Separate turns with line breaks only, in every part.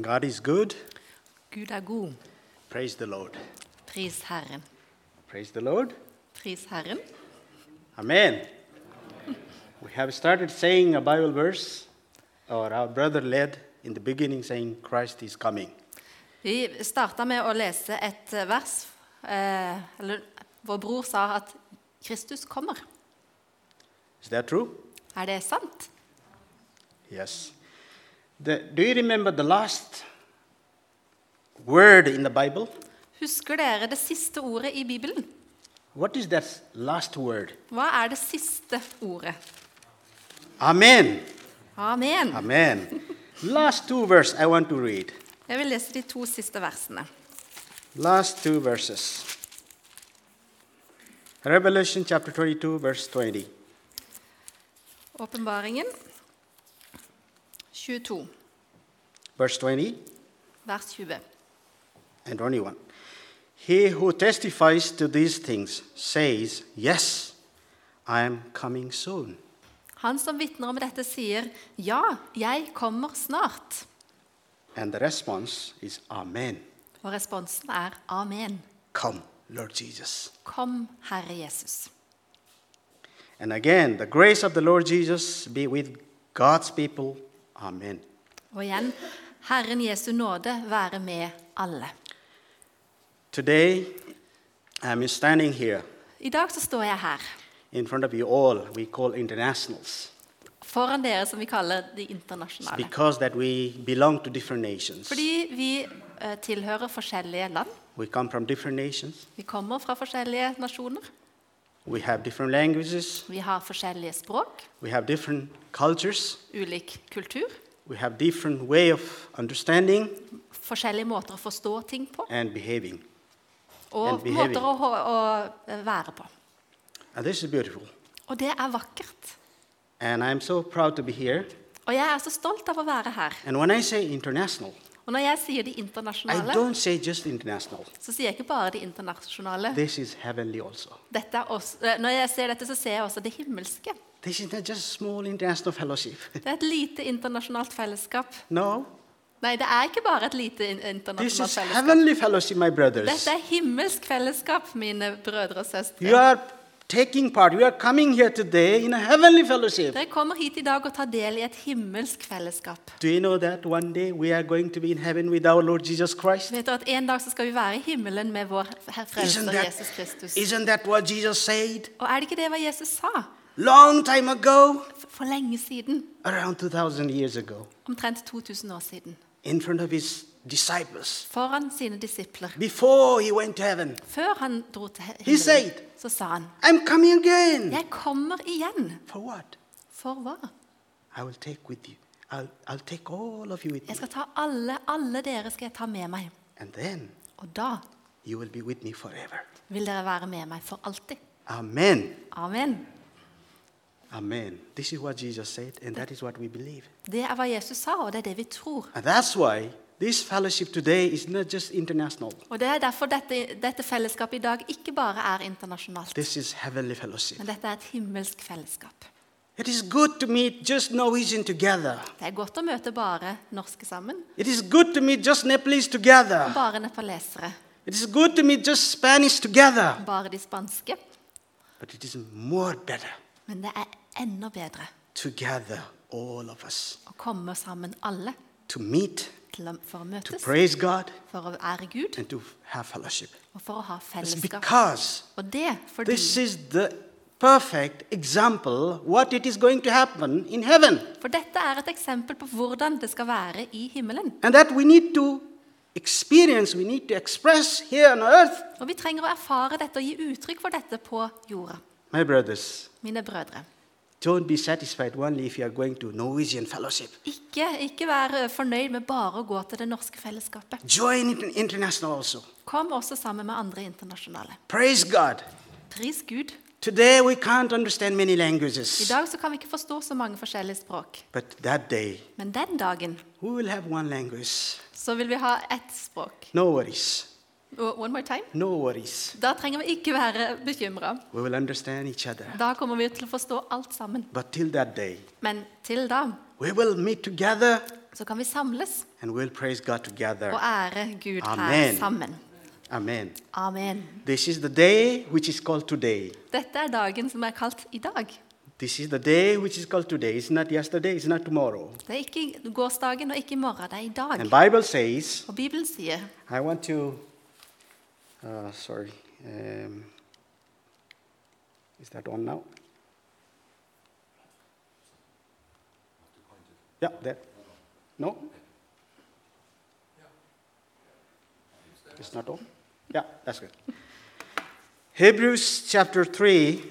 God is good.
Gud er god.
Praise the Lord.
Pris Herren.
Praise the Lord.
Pris Herren.
Amen. We have started saying a Bible verse, or our brother led in the beginning saying, Christ is coming.
Vi starta med å lese et eh, vers. Eh, eller, vår bror sa at Kristus kommer.
Is that true?
Er det sant?
Yes. The, do you remember the last word in the Bible?
Husker dere det siste ordet i Bibelen?
What is that last word?
Hva er det siste ordet?
Amen.
Amen.
Amen. last two verse I want to read.
Jeg vil lese de to siste versene.
Last two verses. Revelation chapter 22, verse 20.
Åpenbaringen 22,
Verse 20
vers 20.
and 21. He who testifies to these things says, Yes, I am coming soon.
Han som vitner om dette, sier, 'Ja, jeg kommer snart'.
And the response is, Amen.
Og responsen er 'Amen'.
Come, Lord Jesus.
Kom, Herre Jesus.
And again, the grace of the Lord Jesus be with God's people. Amen.
Og igjen, Herren Jesu nåde være med alle.
Today, I'm standing here
I dag så står jeg her
in front of you all, we call internationals.
foran dere som vi kaller de
It's
internasjonale.
because that we belong to different nations.
Fordi vi eh, tilhører forskjellige land.
We come from different nations.
Vi kommer fra forskjellige nasjoner.
We have different languages.
Vi har forskjellige språk,
We have different cultures.
ulik kultur,
We have different way of understanding
forskjellige måter å forstå ting på
and behaving. and
og
behaving.
måter å, ho- å eh, være på.
And this is beautiful.
Og det er vakkert.
And I'm so proud to be here.
Og jeg er så stolt av å være her.
And when I say international,
Og når jeg sier de
I
internasjonale,
don't say just international.
så sier jeg ikke bare de internasjonale.
This is heavenly also.
Dette er også, eh, når jeg ser dette, så ser jeg også det himmelske.
This is not just small international fellowship.
Det er et lite internasjonalt fellesskap.
No,
Nei, det er ikke bare et lite in-
this
internasjonalt
is
fellesskap.
heavenly fellowship, my brothers.
Dette er himmelsk fellesskap, mine brødre og
You
søstre.
are taking part. You are coming here today in a heavenly fellowship.
Dere kommer hit i dag og tar del i et himmelsk fellesskap.
Do you know that one day we are going to be in heaven with our Lord Jesus Christ?
Vet du at En dag så skal vi være i himmelen med vår Herre
Isn't
Frelser
that,
Jesus Kristus.
isn't that what Jesus said
Og er det ikke det hva Jesus sa
long time ago?
F- for lenge siden?
Around 2,000 years ago,
Omtrent 2000 år siden.
in front of his disciples,
Foran sine disipler.
before he went to heaven.
Før han dro til
He
himmelen,
said,
så sa han
I'm coming again.
'Jeg kommer igjen'.
For what?
For hva?
I will take with you. I'll, I'll take all of you with me.
Jeg skal ta alle, alle dere skal jeg ta med meg.
And then
Og da
you will be with me forever.
vil dere være med meg for alltid.
Amen.
Amen.
Amen. This is what Jesus said, and that is what we believe.
Det er hva Jesus sa, og det er det vi tror.
And that's why this fellowship today is not just international.
Og det er derfor dette, dette fellesskapet i dag ikke bare er internasjonalt,
This is heavenly fellowship.
men dette er et himmelsk fellesskap.
It is good to meet just Norwegian together.
Det er godt å møte bare norske sammen,
It is good to meet just Nepalese together.
bare nepalesere,
It is good to meet just Spanish together.
bare de spanske.
But it is more better
Men det er enda bedre
together, all of us,
å komme sammen alle
to meet,
til å, for å
to
møtes,
praise God,
for å ære Gud
and to have fellowship.
og for å ha
It's
fellesskap.
because
Og det fordi
this is the perfect example what it is going to happen in heaven.
For dette er et eksempel på hvordan det skal være i himmelen.
And that we need to experience, we need to express here on earth.
Og vi trenger å erfare dette og gi uttrykk for dette på jorda.
My brothers,
Mine brødre.
don't be satisfied only if you are going to Norwegian fellowship.
Ikke, ikke vær eh, fornøyd med bare å gå til det norske fellesskapet.
Join it in international also.
Kom også sammen med andre internasjonale.
Praise God.
Pris Gud.
Today we can't understand many
I
languages.
dag så kan vi ikke forstå så mange forskjellige språk.
But that day
Men den dagen
we will have one language.
så vil vi ha ett språk.
No worries.
Og One more time.
No worries.
Da trenger vi ikke være bekymra.
We will understand each other.
Da kommer vi til å forstå alt sammen.
But till that day,
Men til da
we will meet together
så kan vi samles
and we'll praise God together.
og ære Gud her
Amen.
sammen.
Amen.
Amen.
This is the day which is called today.
Dette er dagen som er kalt i dag.
This is the day which is called today. It's not yesterday, it's not tomorrow.
Det er ikke gårsdagen og ikke i morgen, det er i
And
dag.
Bible says,
Og Bibelen sier
I want to, uh, sorry, um, is that on now? Yeah, that, no? It's not on? Yeah, that's good. Hebrews chapter 3.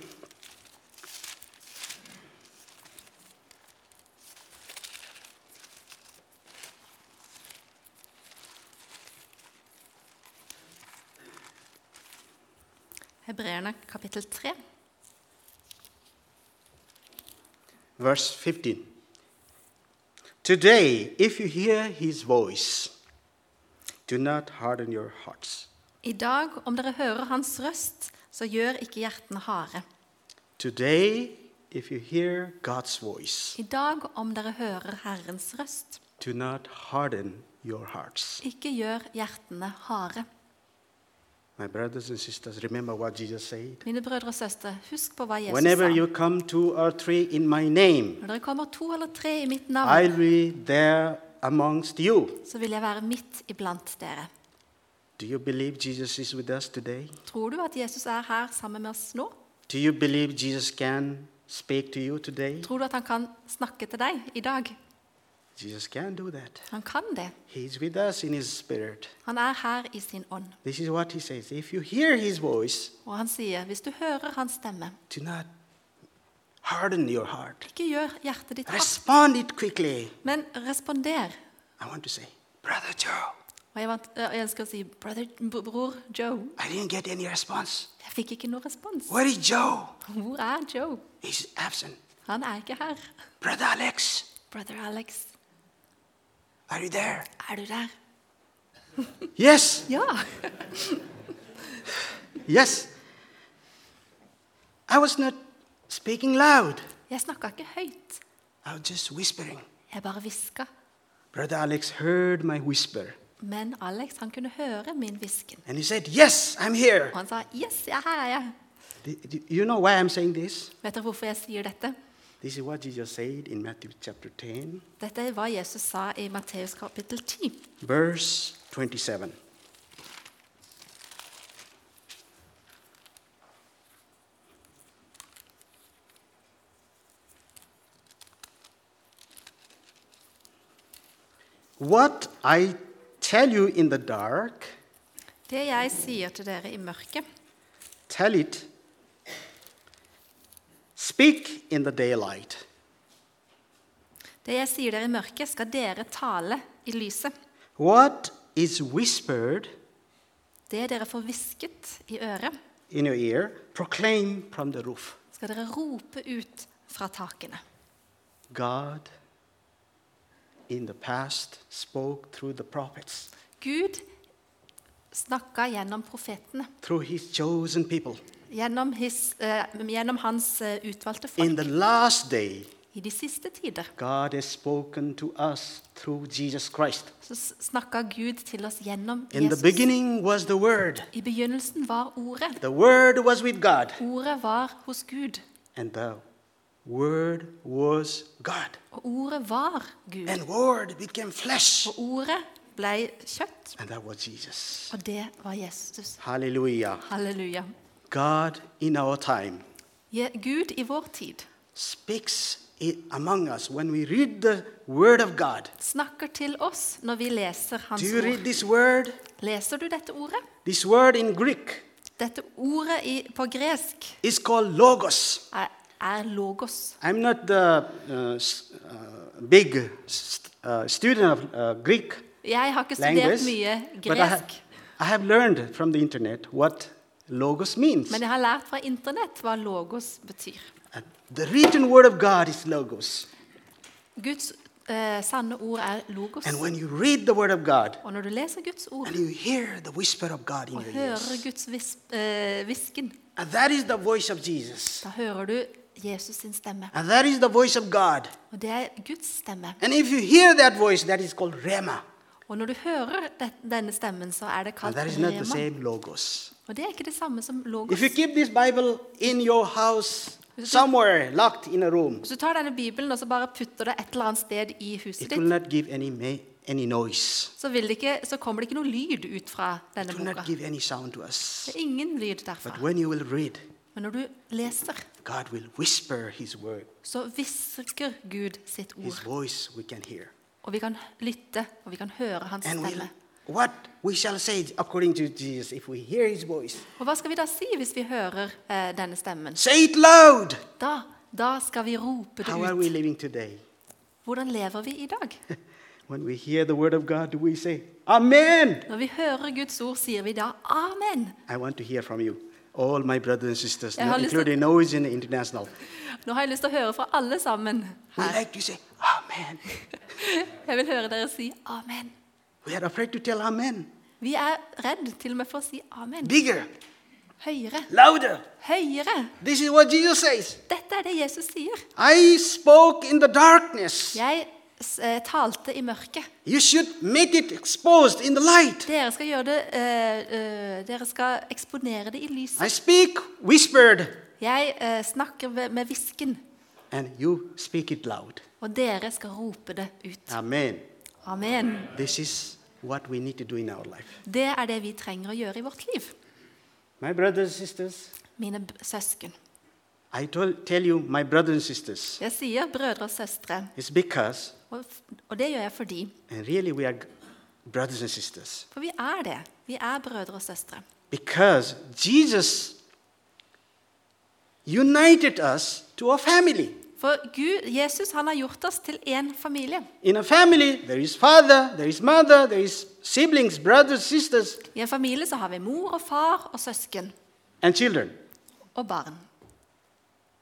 Hebreerne kapittel 3.
verse 15. Today, if you hear his voice, do not harden your hearts.
I dag, om dere hører hans røst, så gjør ikke hjertene harde.
Today, if you hear God's voice,
I dag, om dere hører Herrens røst,
do not harden your hearts.
ikke gjør hjertene harde.
My brothers and sisters, remember what Jesus said?
Mine brødre og søstre, husk på hva Jesus
Whenever
sa.
you come two or three in my name,
Når dere kommer to eller tre i mitt navn,
I'll be there amongst you.
så vil jeg være midt iblant dere.
Do you believe Jesus is with us today?
Tror du at Jesus er her sammen med oss nå?
Do you believe Jesus can speak to you today?
Tror du at han kan snakke til deg i dag?
Jesus can do that.
Han kan det.
He's with us in His Spirit.
Han er her i sin ånd.
This is what He says. If you hear His voice,
Og han sier, hvis du hører hans stemme,
do not harden your heart.
ikke gjør hjertet ditt hardt,
Respond it quickly.
men responder.
I want to say, Brother Joe,
Og jeg, vant, jeg ønsker å si, brother, br- bror Joe,
I didn't get any response.
jeg fikk ikke noe respons.
Where is Joe?
Hvor er Joe?
He's absent.
Han er ikke her.
Brother Alex,
Brother Alex,
are you there?
er du der?
Yes,
Ja.
yes. I was not speaking loud.
Jeg snakka ikke høyt.
I was just whispering.
Jeg bare hviska.
Brother Alex heard my whisper
Men Alex han kunne høre min hvisken.
and he said, Yes, I'm here.
Og han sa 'yes, jeg er her'. er jeg.
Do- do You know why I'm saying this?
Vet dere hvorfor jeg sier dette?
This is what Jesus said in Matthew chapter 10,
Dette er hva Jesus sa i Matteus kapittel 10.
verse 27. What I tell you in the dark,
Det jeg sier til dere i mørket,
tell it. Speak in the daylight.
det jeg sier dere i mørket, skal dere tale i lyset.
What is whispered
Det dere får hvisket i øret,
in your ear, proclaim from the roof.
skal dere rope ut fra takene.
God in the past spoke through the prophets,
Gud snakka gjennom profetene,
through his chosen people.
gjennom, his, eh, gjennom hans eh, utvalgte folk.
In the last day,
I de siste tider
God has spoken to us through Jesus Christ.
så s- snakka Gud til oss gjennom
In the
Jesus.
beginning was the Word.
I begynnelsen var Ordet.
The Word was with God,
Ordet var hos Gud,
and the Word was God.
og ordet var Gud.
And Word became flesh,
Og ordet ble kjøtt,
and that was Jesus.
og det var Jesus.
Hallelujah.
Halleluja.
God in our time.
Je- Gud i vår tid
speaks it among us when we read the word of god
snakker til oss når vi leser Hans
do you read
ord.
this word
Leser du dette ordet?
this word in greek
Dette ordet i, på gresk
is called logos
er, er logos.
i'm not the uh, s- uh, big st- uh, student of uh, greek
Jeg har ikke studert
language
mye
but I, ha-
gresk,
I have learned from the internet what logos means
men jeg har lært fra internett hva logos betyr.
And the written word of god is logos
Guds eh, sanne ord er logos.
and when you read the word of god
Og når du leser Guds ord
and you hear the whisper of god in
og
your
hører
ears
Guds hvisken, eh, hvisken,
and that is the voice of jesus
da hører du Jesus sin stemme.
And that is the voice of God.
Og det er Guds stemme.
And if you hear that voice, that is called Rema.
Og når du hører det, denne stemmen, så er det
And
kalt
that is not the
rema.
same logos.
Og det er ikke det samme som
If
logos.
you keep this Bible in your house, somewhere locked in a room,
Hvis du tar denne Bibelen og så bare putter det et eller annet sted i huset
it will
ditt,
not give any, ma- any noise.
så, vil det ikke, så kommer det ikke noe lyd ut fra denne
It will
boka.
not give any sound to us.
Det er ingen lyd
But
derfra.
when you will read,
Men når du leser,
God will whisper His word.
så hvisker Gud sitt
His
ord.
voice we can hear.
Og vi kan lytte, og vi kan høre hans
And we'll,
stemme.
what we shall say according to Jesus if we hear His voice.
Og hva skal vi da si hvis vi hører eh, denne stemmen?
Say it loud.
Da, da skal vi rope det
How are we
ut.
living today?
Hvordan lever vi i dag?
When we hear the word of God, do we say, Amen?
Når vi hører Guds ord, sier vi da amen.
I want to hear from you, all my brothers and sisters,
Jeg har
not
lyst til-
including those in the international.
Nå har jeg lyst til å høre fra alle sammen
We
her.
like to say, Amen.
Jeg vil høre dere si amen.
We are afraid to tell Amen.
Vi er redd til og med for å si amen.
Bigger,
Høyere,
louder.
høyere.
This is what Jesus says.
Dette er det Jesus sier.
I spoke in the darkness.
Jeg s- eh, talte i mørket.
You should make it exposed in the light.
Dere skal gjøre det eh, eh, Dere skal eksponere det i lyset.
I speak whispered,
Jeg eh, snakker ved- med hvisken,
and you speak it loud.
og dere skal rope det ut.
Amen.
Amen.
This is what we need to do in our life.
Det er det vi trenger å gjøre i vårt liv.
My brothers and sisters,
Mine b- søsken.
I tol- tell you, my brothers and sisters,
Jeg sier brødre og søstre,
it's because,
og, f- og det gjør jeg fordi
and really we are g- brothers and sisters,
For vi er det. Vi er brødre og søstre.
because Jesus united us to a family.
For Gud, Jesus han har gjort oss til én familie.
In a family, there is father, there is mother, there is siblings, brothers, sisters,
I en familie så har vi mor og far og søsken
and children.
og barn.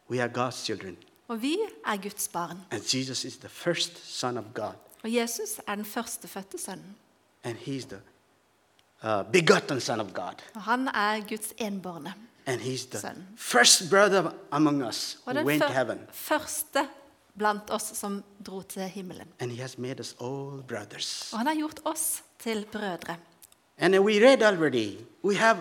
We are God's children,
Og vi er Guds barn.
and Jesus is the first Son of God,
Og Jesus er den førstefødte sønnen.
and He is the uh, begotten Son of God.
Og han er Guds enbårne.
And he's the
Son.
first brother among us
Og
who
den
went to
fø-
heaven.
første blant oss som dro til himmelen.
And he has made us all brothers.
Og han har gjort oss til brødre.
And we read already, we have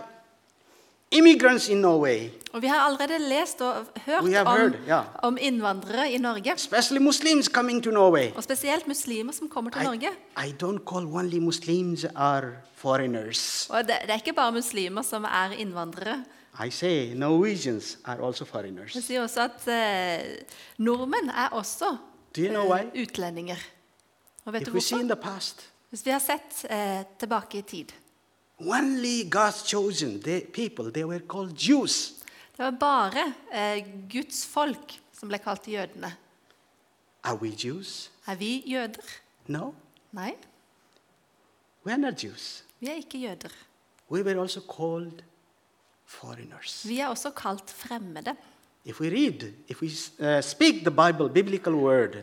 immigrants in Norway,
Og vi har allerede lest og hørt
We have
om,
heard, ja.
om innvandrere i Norge.
especially Muslims coming to Norway.
Og spesielt muslimer som kommer til Norge.
I, I don't call only Muslims are foreigners.
Og det, det er ikke bare muslimer som er innvandrere.
I say Norwegians are also
Det
foreigners.
sier også at eh, nordmenn er også
Do you know
eh,
why?
utlendinger. Og vet
If
du
we see in
hvorfor?
the past,
Hvis vi har sett eh, tilbake i tid
only God's chosen they, people, they were called Jews.
Det var bare eh, Guds folk som ble kalt jødene.
Are we Jews?
Er vi jøder?
No,
Nei,
we are not Jews.
vi er ikke jøder.
We were also called foreigners.
Vi er også kalt fremmede.
If we read, if we uh, speak the Bible, biblical word,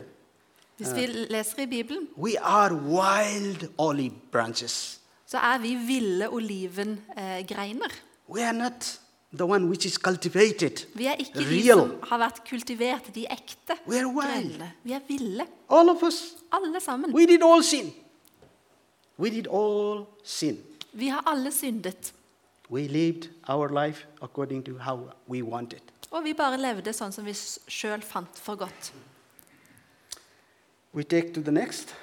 Hvis vi leser i Bibelen,
we are wild olive branches.
så er vi ville olivengreiner. Eh, greiner.
We are not the one which is cultivated.
vi er ikke de
Real.
som har vært kultivert, de ekte
We are wild.
greinene. Vi er ville,
All of us,
alle sammen.
we did all sin. We did all sin.
Vi har alle syndet.
We lived our life according to how we wanted.
Og vi bare levde sånn som vi sjøl fant for godt.
We take to the next.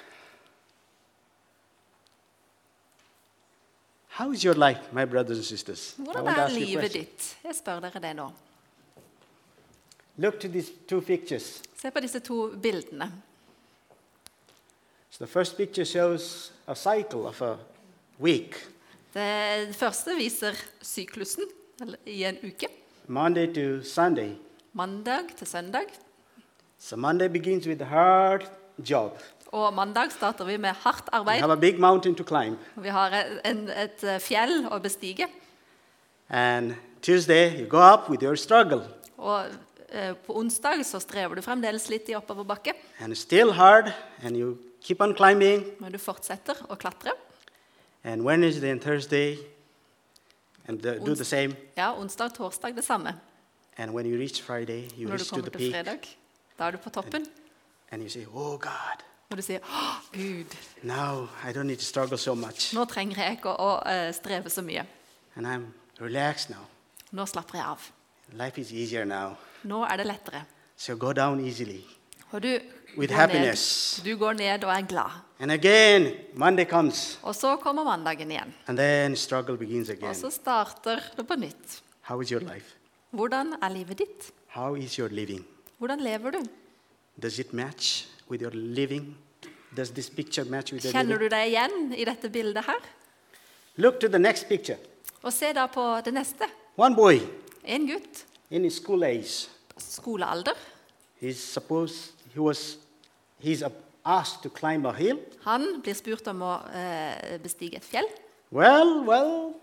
How is your life, my brothers and sisters? I
Hvordan
want to
er
ask you a
livet
question.
ditt? Jeg spør dere det nå.
Look to these two pictures.
Se på disse to bildene.
So the first picture shows a cycle of a week,
Det første viser syklusen eller i en uke.
Monday to Sunday.
Mandag til søndag.
So Monday begins with a hard job.
Og mandag starter vi med hardt
We
arbeid.
have a big mountain to climb.
Vi har en, et eh, fjell å bestige.
And Tuesday, you go up with your struggle.
Og eh, på onsdag så strever du fremdeles litt i oppoverbakke,
And it's still hard, and you keep on climbing.
men du fortsetter å klatre.
And Wednesday and Thursday, and the, do the same.
Ja, onsdag, torsdag det samme.
And when you reach Friday, you
Når du
reach to the
kommer til
peak
fredag, da er du på toppen.
and you say, Oh God,
Og du sier Å, Gud,
now I don't need to struggle so much.
nå trenger jeg ikke å eh, streve så mye.
And I'm relaxed now.
Nå slapper jeg av.
Life is easier now.
Nå er det lettere.
So go down easily.
Og du
With
går ned,
happiness.
du går ned og er glad.
And again, Monday comes,
Og så kommer mandagen igjen.
and then struggle begins
Og
again.
så starter det på nytt.
How is your life?
Hvordan er livet ditt?
How is your living?
Hvordan lever du?
Does it match with your living? Does this picture match with your
Kjenner
living?
du deg igjen i dette bildet her?
Look to the next picture.
Og se da på det neste.
One boy
En gutt,
in his school age.
skolealder.
He's supposed he was he's uh, asked to climb a hill.
Han blir spurt om å eh, bestige et fjell.
Well, well,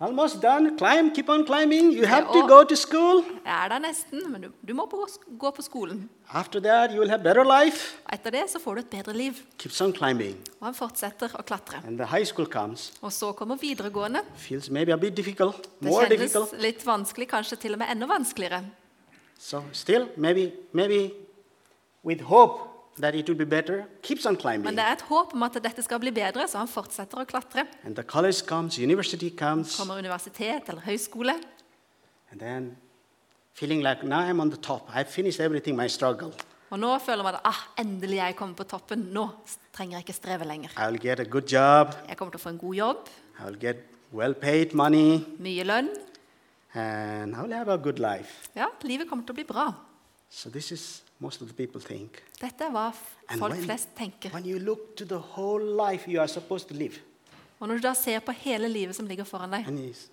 almost done. Climb, keep on climbing. You have to
all-
go to school.
Jeg er der nesten, men du, du må på, gå på skolen.
After that, you will have better life.
Og etter det så får du et bedre liv.
Keeps on climbing,
Og han fortsetter å klatre.
and the high school comes.
Og så kommer videregående.
Feels maybe a bit difficult,
Det
more
kjennes
difficult.
litt vanskelig, kanskje til og med enda vanskeligere.
So still, maybe, maybe, with hope that it will be better, keeps on climbing.
Men det er et håp om at dette skal bli bedre, så han fortsetter å klatre.
And the college comes, university comes,
Kommer universitet eller høyskole,
and then feeling like now I'm on the top. I finished everything, my struggle.
og nå føler man at ah, endelig er jeg kommet på toppen. Nå trenger jeg ikke streve lenger.
I'll get a good job.
Jeg kommer til å få en god jobb,
I'll get well-paid money,
mye lønn.
and I'll have a good life.
Ja, livet kommer til å bli bra.
So this is most of the people think.
Dette er hva f-
And
folk
when-
flest tenker.
When you look to the whole life you are supposed to live,
Og når du da ser på hele livet som ligger foran deg,
and it's-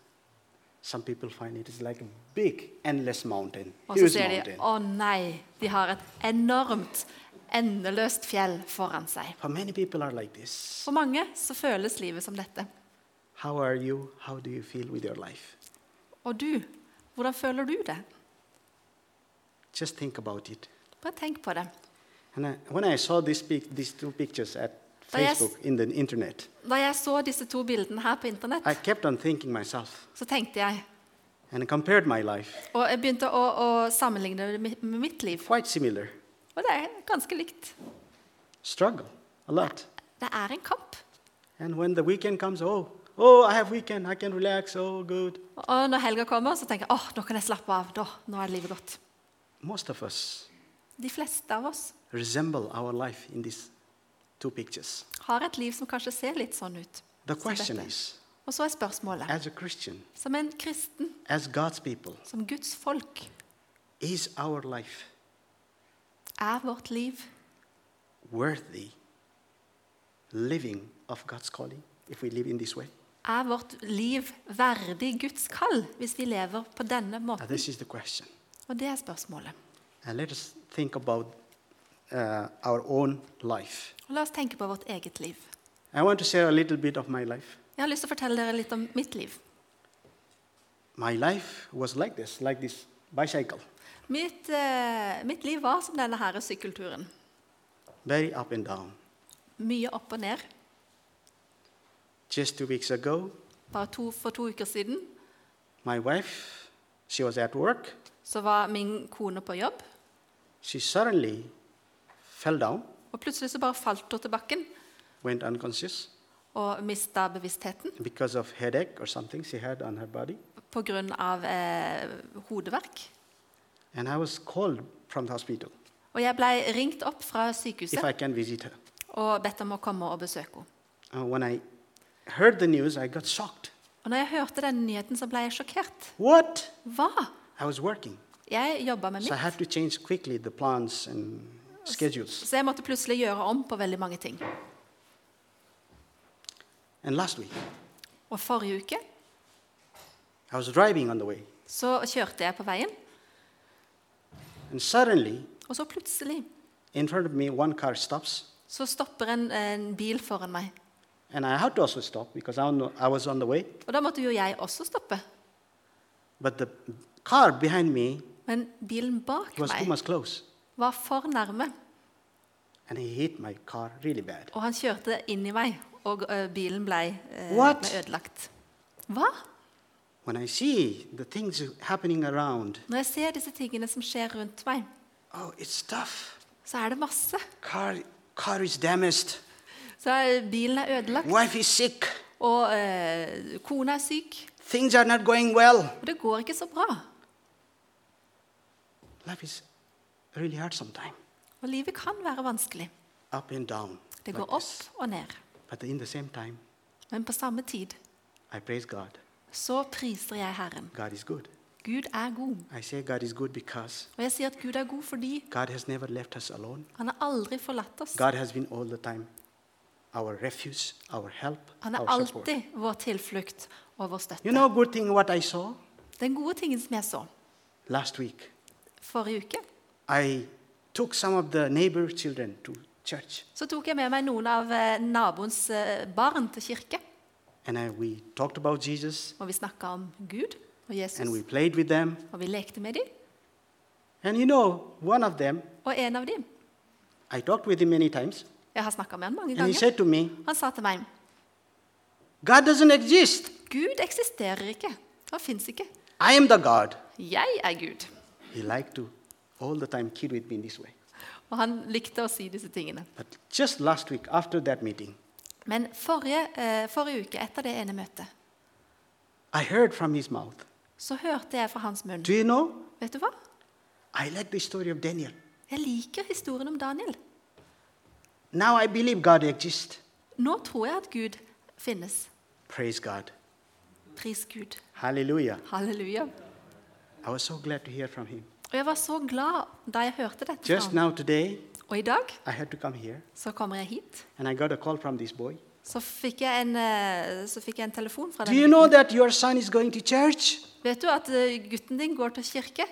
some people find it is like a big, endless mountain,
og så
huge
ser de
mountain.
å nei, de har et enormt, endeløst fjell foran seg.
For many people are like this.
For mange så føles livet som dette.
How are you? How do you feel with your life?
Og du, hvordan føler du det?
Just think about it.
Bare tenk på det.
And I, when I saw this pic, these two pictures at
Oh, yes.
Facebook in the internet,
Da jeg så disse to bildene her på internett,
I kept on thinking myself
så tenkte jeg
and compared my life.
Og jeg begynte å, å sammenligne det med med mitt liv.
Quite similar.
Og det er ganske likt.
Struggle a lot.
Det er en kamp.
And when the weekend comes, oh, oh, I have weekend. I can relax. Oh, good.
Og når helga kommer, så tenker jeg åh, nå kan jeg slappe av. Da, nå er livet godt.
Most of us
De fleste av oss
resemble our life in these two pictures.
har et liv som kanskje ser litt sånn ut.
The
som
question
dette.
is,
Og så er spørsmålet
as a Christian,
Som en kristen,
as God's people,
som Guds folk,
is our life
er vårt liv
worthy living of God's calling if we live in this way?
Er vårt liv verdig Guds kall hvis vi lever på denne
Now,
måten?
this is the question.
Og det er spørsmålet.
And let us think about uh, our own life.
Og la oss tenke på vårt eget liv.
I want to share a little bit of my life.
Jeg har lyst til å fortelle dere litt om mitt liv.
My life was like this, like this bicycle,
Mitt, eh, mitt liv var som denne her sykkelturen.
very up and down.
Mye opp og ned.
Just two weeks ago,
Bare to, for to uker siden
my wife, she was at work.
så var min kone på jobb,
She suddenly fell down,
og plutselig så bare falt hun til bakken
went unconscious
og mista bevisstheten
because of headache or something she had on her body.
pga. Eh, hodeverk.
And I was called from the hospital
Og jeg blei ringt opp fra
if
sykehuset
I can visit her.
og bedt om å komme og besøke henne.
Uh, when I heard the news, I got shocked.
Og når jeg hørte denne nyheten, så blei jeg sjokkert.
What?
Hva?
I was working.
Jeg jobba med
So I
mitt,
had to change quickly the plans and schedules.
så jeg måtte plutselig gjøre om på veldig mange ting.
And last week,
Og forrige uke
I was driving on the way,
så kjørte jeg på veien,
and suddenly,
og så plutselig
in front of me, one car stops,
så stopper en, en bil foran meg.
and I had to also stop because I know- I was on the way.
Og da måtte jo jeg også stoppe.
But the car behind me
Men bilen bak
was too
meg
much close,
var for nærme,
and he hit my car really bad.
og han kjørte inn i meg, og ø, bilen ble, eh,
What?
ble ødelagt. Hva?
When I see the things happening around,
Når jeg ser disse tingene som skjer rundt meg,
oh, it's tough.
så er det masse.
Car, car is damaged.
Så er bilen er ødelagt,
Wife is sick.
og eh, kona er syk.
Things are not going well.
Og det går ikke så bra.
Life is really hard sometimes.
Og livet kan være vanskelig.
Up and down.
Det
like
går opp
this.
og ned.
But in the same time,
Men på samme tid
I praise God.
så priser jeg Herren.
God is good.
Gud er god.
I say God is good because
Og jeg sier at Gud er god fordi
God has never left us alone.
han har aldri forlatt oss.
God has been all the time our refuge, our help,
Han er
our support.
alltid vår tilflukt og vår
You
støtte.
know, good thing what I saw
Den gode tingen som jeg så
last week.
forrige uke,
I took some of the neighbor children to church,
så tok jeg med meg noen av eh, naboens eh, barn til kirke.
and I, we talked about Jesus,
Og vi snakka om Gud og Jesus,
and we played with them.
og vi lekte med dem.
And you know, one of them,
Og en av dem
I talked with him many times,
Jeg har snakka med han mange
and he
ganger.
said to me,
Han sa til meg
"God doesn't exist.
Gud eksisterer ikke. Han fins ikke.
I am the God."
Jeg er Gud.
He liked to all the time kid with me in this way.
Og han likte å si disse tingene.
But just last week, after that meeting,
Men forrige, eh, forrige uke, etter det ene møtet,
I heard from his mouth.
så hørte jeg fra hans munn
Do you know?
Vet du hva?
I like the story of Daniel.
Jeg liker historien om Daniel.
Now I believe God exists.
Nå tror jeg at Gud finnes.
Praise God.
Pris Gud.
Hallelujah.
Halleluja.
I was so glad to hear from him.
Og jeg var så glad da jeg hørte dette. fra
Just
ham.
now today,
Og i dag
I had to come here
så kommer jeg hit.
and I got a call from this boy.
Så fikk jeg en, eh, så fikk jeg en telefon fra
Do
den.
you
gutten.
know that your son is going to church?
Vet du at eh, gutten din går til kirke?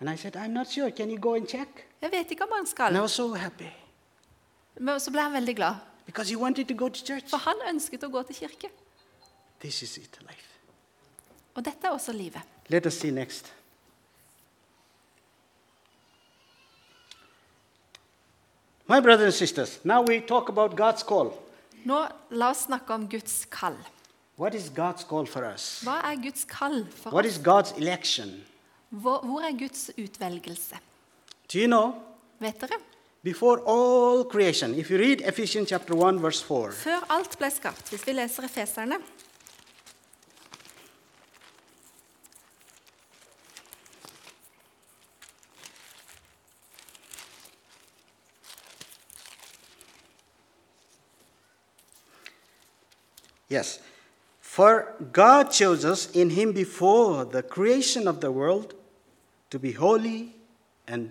And I said, I'm not sure. Can you go and check?
Jeg vet ikke om han
And I
skal.
was so happy
Men så ble han veldig glad.
because he wanted to go to church.
For han ønsket å gå til kirke.
This is it, life.
Og dette er også livet.
Let us see next. My brothers and sisters, now we talk about God's call.
Nå la oss snakke om Guds kall.
What is God's call for us?
Hva er Guds kall for
What is God's election?
Hvor, hvor er Guds utvelgelse?
Do you know?
Vet dere?
Before all creation, if you read Ephesians chapter 1, verse 4,
Før alt ble skapt, hvis vi leser Efeserne
yes. For God chose us in him before the creation of the world to be holy and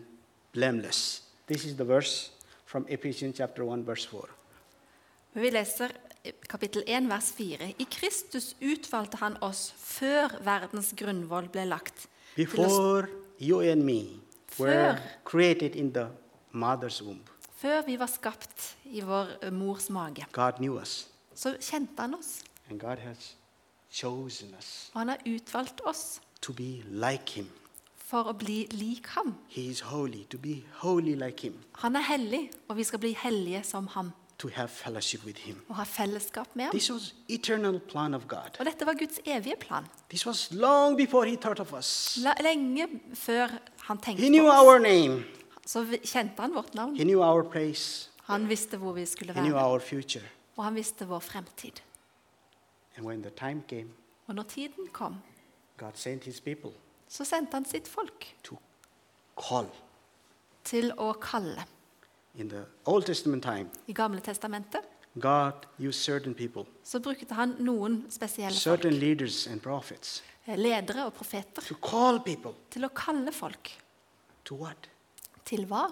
blameless. This is the verse from Ephesians chapter 1, verse 4.
Vi leser kapittel 1, vers 4. I Kristus utvalgte han oss før verdens grunnvoll ble lagt. til å-
Before you and me were
Før.
created in the mother's womb,
Før vi var skapt i vår eh, mors mage,
God knew us,
så kjente han oss.
and God has chosen us
Og han har utvalgt oss
to be like him.
for å bli lik ham.
He is holy, to be holy like him,
Han er hellig, og vi skal bli hellige som ham.
to have fellowship with him.
Og ha fellesskap med ham.
This was eternal plan of God.
Og dette var Guds evige plan.
This was long before he thought of us.
La- Lenge før han tenkte
He knew
på oss,
our name.
så vi- kjente han vårt navn.
He knew our place.
Han visste hvor vi skulle
He knew
være,
our future.
og han visste vår fremtid.
And when the time came,
Og når tiden kom,
God sent his people
så sendte han sitt folk
to call.
til å kalle.
In the Old Testament time,
I Gamle testamentet
God used certain people,
så brukte han noen spesielle folk,
certain leaders and prophets
eh, ledere og profeter,
to call people
til å kalle folk.
to what?
Til hva?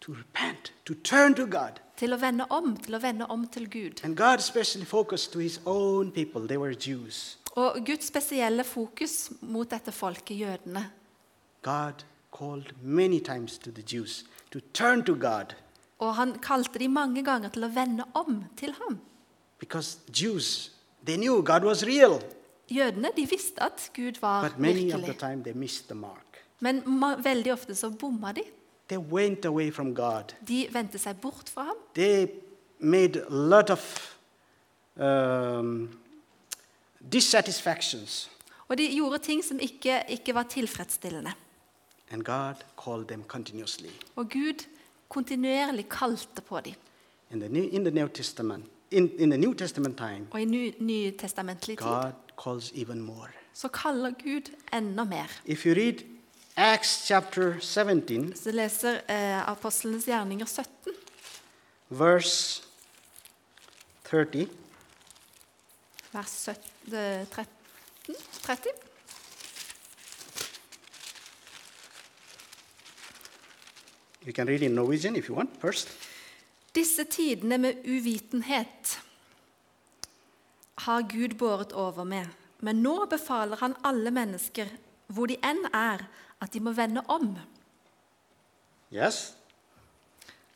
To repent, to turn to God.
Til å vende om, til å vende om til Gud.
And God especially focused to his own people. They were Jews.
Og Guds spesielle fokus mot dette folket, jødene,
God called many times to the Jews to turn to God
Og han kalte de mange ganger til å vende om til ham.
because Jews, they knew God was real.
Jødene de visste at Gud var
But many of the
virkelig,
time they missed the mark.
men ma- veldig ofte så bomma de.
They went away from God.
De vendte seg bort fra ham.
They made a lot of um, dissatisfactions.
Og de gjorde ting som ikke, ikke var tilfredsstillende.
And God called them continuously.
Og Gud kontinuerlig kalte på dem.
In the New, in the New Testament, in, in the New Testament time,
Og i ny- nytestamentlig tid
God calls even more.
så kaller Gud enda mer.
If you read Acts chapter 17,
Så leser eh, Apostlenes gjerninger 17,
verse 30,
vers 17, eh, 13, 30.
you can read in Norwegian if you want first.
Disse tidene med uvitenhet har Gud båret over med, men nå befaler han alle mennesker, hvor de enn er, at de må vende om.
Yes?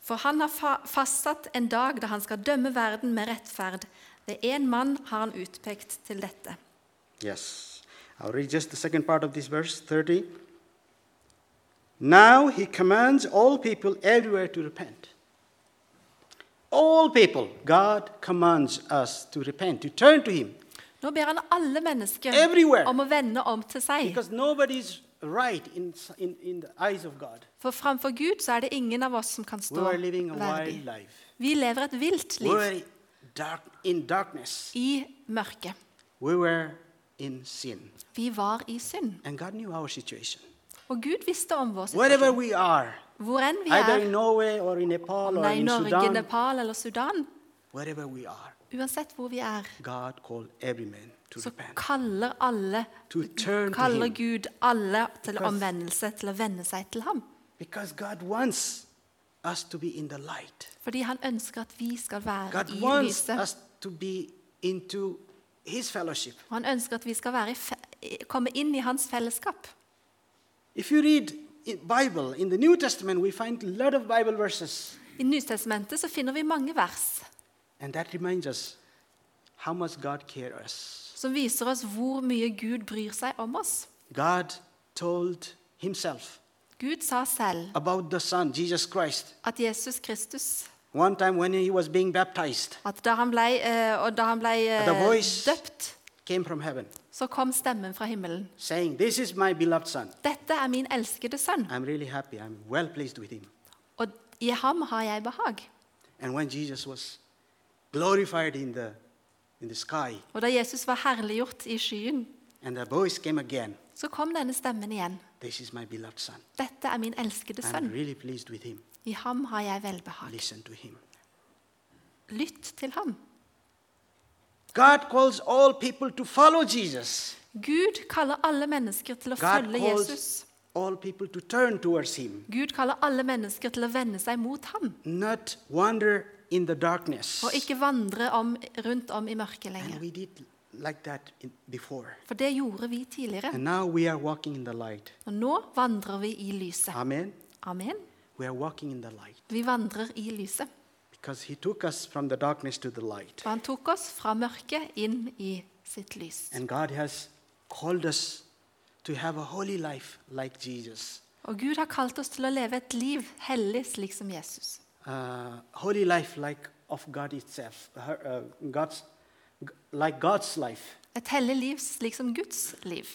For han har fa- fastsatt en dag da han skal dømme verden med rettferd. Ved én mann har han utpekt til dette.
Yes. I'll read just the second part of this verse 30. Now he commands all people everywhere to repent. All people, God commands us to repent, to turn to him,
Nå ber han alle mennesker
Everywhere.
om å vende om til seg.
because nobody's right in, in, in the eyes of God.
For framfor Gud så er det ingen av oss som kan
We
stå
are living a wild
verdig.
life.
Vi lever et vilt
We
liv
were dark, in darkness.
i mørket.
We were in sin.
Vi var i synd.
And God knew our situation.
Og Gud visste om vår
Wherever
situasjon.
we are,
Hvor enn vi
either
er,
in Norway or in Nepal
om
or
det er i
in
Norge,
Sudan,
Nepal eller Sudan,
wherever we are,
uansett hvor vi er,
God called every man to
så
repent,
kaller alle
to turn to
kaller
Him,
Gud alle til
Because-
omvendelse, til å vende seg til ham.
because God wants us to be in the light.
Fordi han ønsker at vi skal være
God
i
wants
lyset.
us to be into His fellowship.
Og han ønsker at vi skal være i fe komme inn i hans fellesskap.
If you read in Bible in the New Testament, we find a lot of Bible verses,
I Nytestamentet så finner vi mange vers
and that reminds us how much God cares us.
som viser oss hvor mye Gud bryr seg om oss.
God told Himself
Gud sa selv
about the Son, Jesus Christ,
at Jesus Kristus
one time when He was being baptized,
at da han ble, eh, og da han ble eh,
The voice-
døpt,
came from heaven,
så kom stemmen fra himmelen.
saying, "This is my beloved Son."
Dette er min elskede sønn,
I'm really happy. I'm well pleased with him.
og i ham har jeg behag.
And when Jesus was glorified in the, in the sky,
Og da Jesus var herliggjort i skyen,
and the voice came again,
så kom denne stemmen igjen.
This is my beloved son.
Dette er min elskede
I'm
sønn.
really pleased with him.
I ham har jeg velbehag.
Listen to him.
Lytt til ham.
God calls all people to follow Jesus.
Gud kaller alle mennesker til å
God
følge Jesus.
calls all people to turn towards him,
Gud kaller alle mennesker til å vende seg mot ham,
not wander in the darkness.
og ikke vandre om, rundt om i mørket
And
lenger.
we did like that in, before.
For det gjorde vi tidligere.
And now we are walking in the light.
Og nå vandrer vi i lyset.
Amen.
Amen.
We are walking in the light
Vi vandrer i lyset.
because he took us from the darkness to the light.
For han tok oss fra mørket inn i sitt lys.
And God has called us to have a holy life like Jesus.
Og Gud har kalt oss til å leve et liv hellig slik som Jesus.
Uh, holy life like of God itself, her- uh, God's, like God's life.
Et hellig liv slik som Guds liv.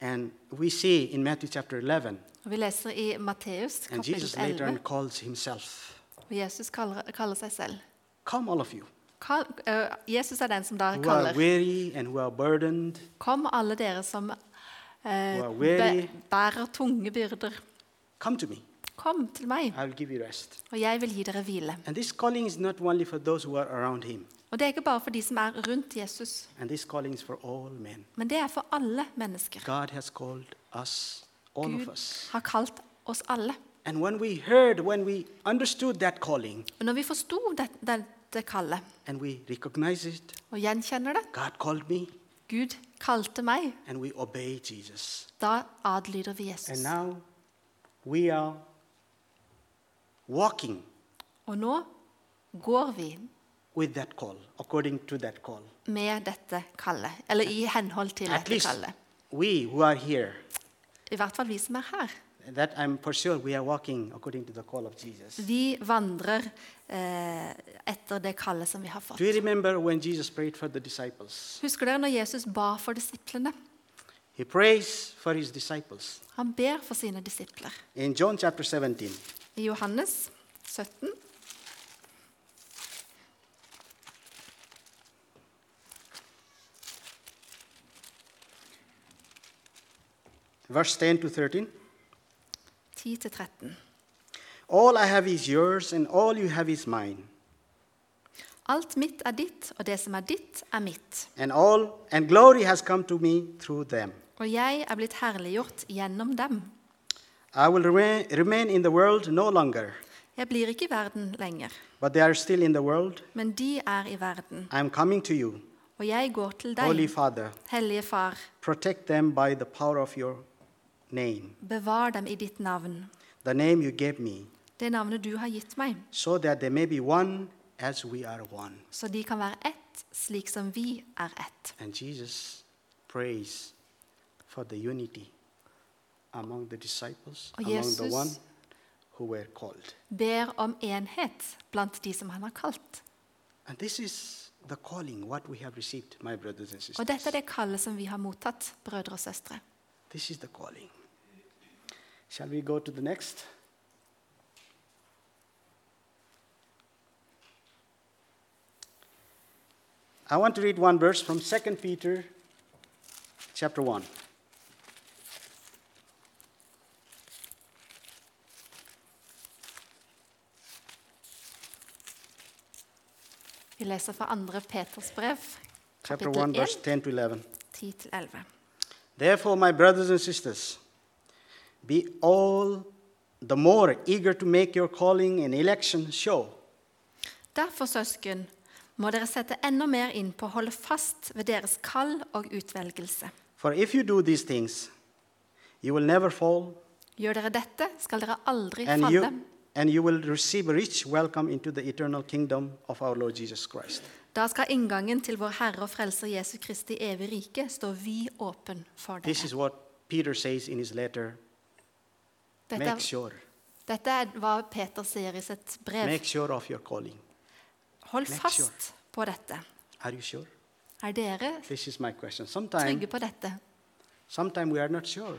And we see in Matthew chapter 11,
Og Vi leser i Matteus
and
kapittel
Jesus later on
11,
calls himself,
og Jesus kaller, kaller seg selv.
Come, all of you
Kall, eh, Jesus er den som da
who are
kaller
weary and who are burdened,
Kom, alle dere som eh,
Who are
bæ-
weary.
bærer tunge byrder.
come to me.
Kom til meg,
I will give you rest.
og jeg vil gi dere hvile.
And this calling is not only for those who are around him,
Og det er ikke bare for de som er rundt Jesus,
and this calling is for all men.
men det er for alle mennesker.
God has called us, all of
Gud
us.
har kalt oss alle.
And when we heard, when we understood that calling,
Og når vi forsto det- dette kallet
and we recognized it,
og gjenkjenner det
God called me,
Gud kalte meg,
and we obeyed Jesus.
da adlyder vi Jesus.
And now we are walking
Og nå går vi
with that call, according to that call.
med dette kallet, eller i henhold til
At
dette
least
kallet.
we who are here,
I hvert fall vi som er her.
that I'm for sure we are walking according to the call of Jesus.
Vi vandrer eh, etter det kallet som vi har fått.
Do you remember when Jesus prayed for the disciples?
Husker dere når Jesus ba for disiplene?
He prays for his disciples.
Han ber for sine disipler.
In John chapter 17,
I Johannes 17
verse 10 to 13,
10-13.
All I have is yours, and all you have is mine.
Alt mitt er ditt, og det som er ditt, er mitt.
And all and glory has come to me through them.
Og jeg er blitt herliggjort gjennom dem.
I will remain, remain in the world no longer,
Jeg blir ikke i verden lenger,
but they are still in the world.
men de er i verden.
I am coming to you,
Og jeg går til
Holy
deg,
Father.
Hellige Far,
Protect them by the power of your name,
bevar dem i ditt navn,
the name you gave me,
det navnet du har gitt meg,
so that they may be one as we are one.
så de kan være ett, slik som vi er ett.
And Jesus prays for the unity among the disciples,
Oh,
among the
Jesus.
one who were called.
Ber om enhet blant de som han har kalt.
And this is the calling, what we have received, my brothers and
Og dette
sisters.
er det kallet som vi har mottatt, brødre og søstre.
This is the calling. Shall we go to the next? I want to read one verse from 2 Peter chapter 1.
Vi leser fra 2. Peters brev,
Chapter
kapittel
1 verse
1,
10 to 11.
10-11.
Therefore, my brothers and sisters, be all the more eager to make your calling and election show.
Derfor, søsken, må dere sette enda mer inn på å holde fast ved deres kall og utvelgelse.
For if you do these things, you will never fall,
Gjør dere dette, skal dere aldri
and
falle.
you, and you will receive a rich welcome into the eternal kingdom of our Lord Jesus Christ.
Da skal inngangen til vår Herre og Frelser Jesu Kristi evig rike stå vid åpen for
This
dere.
is what Peter says in his letter.
Dette,
Make
er-
sure.
dette er hva Peter sier i sitt brev.
Make sure of your calling.
Hold
make
fast på dette.
Are you sure?
Er dere
This is my question. Sometimes
trygge på dette?
sometime we are not sure.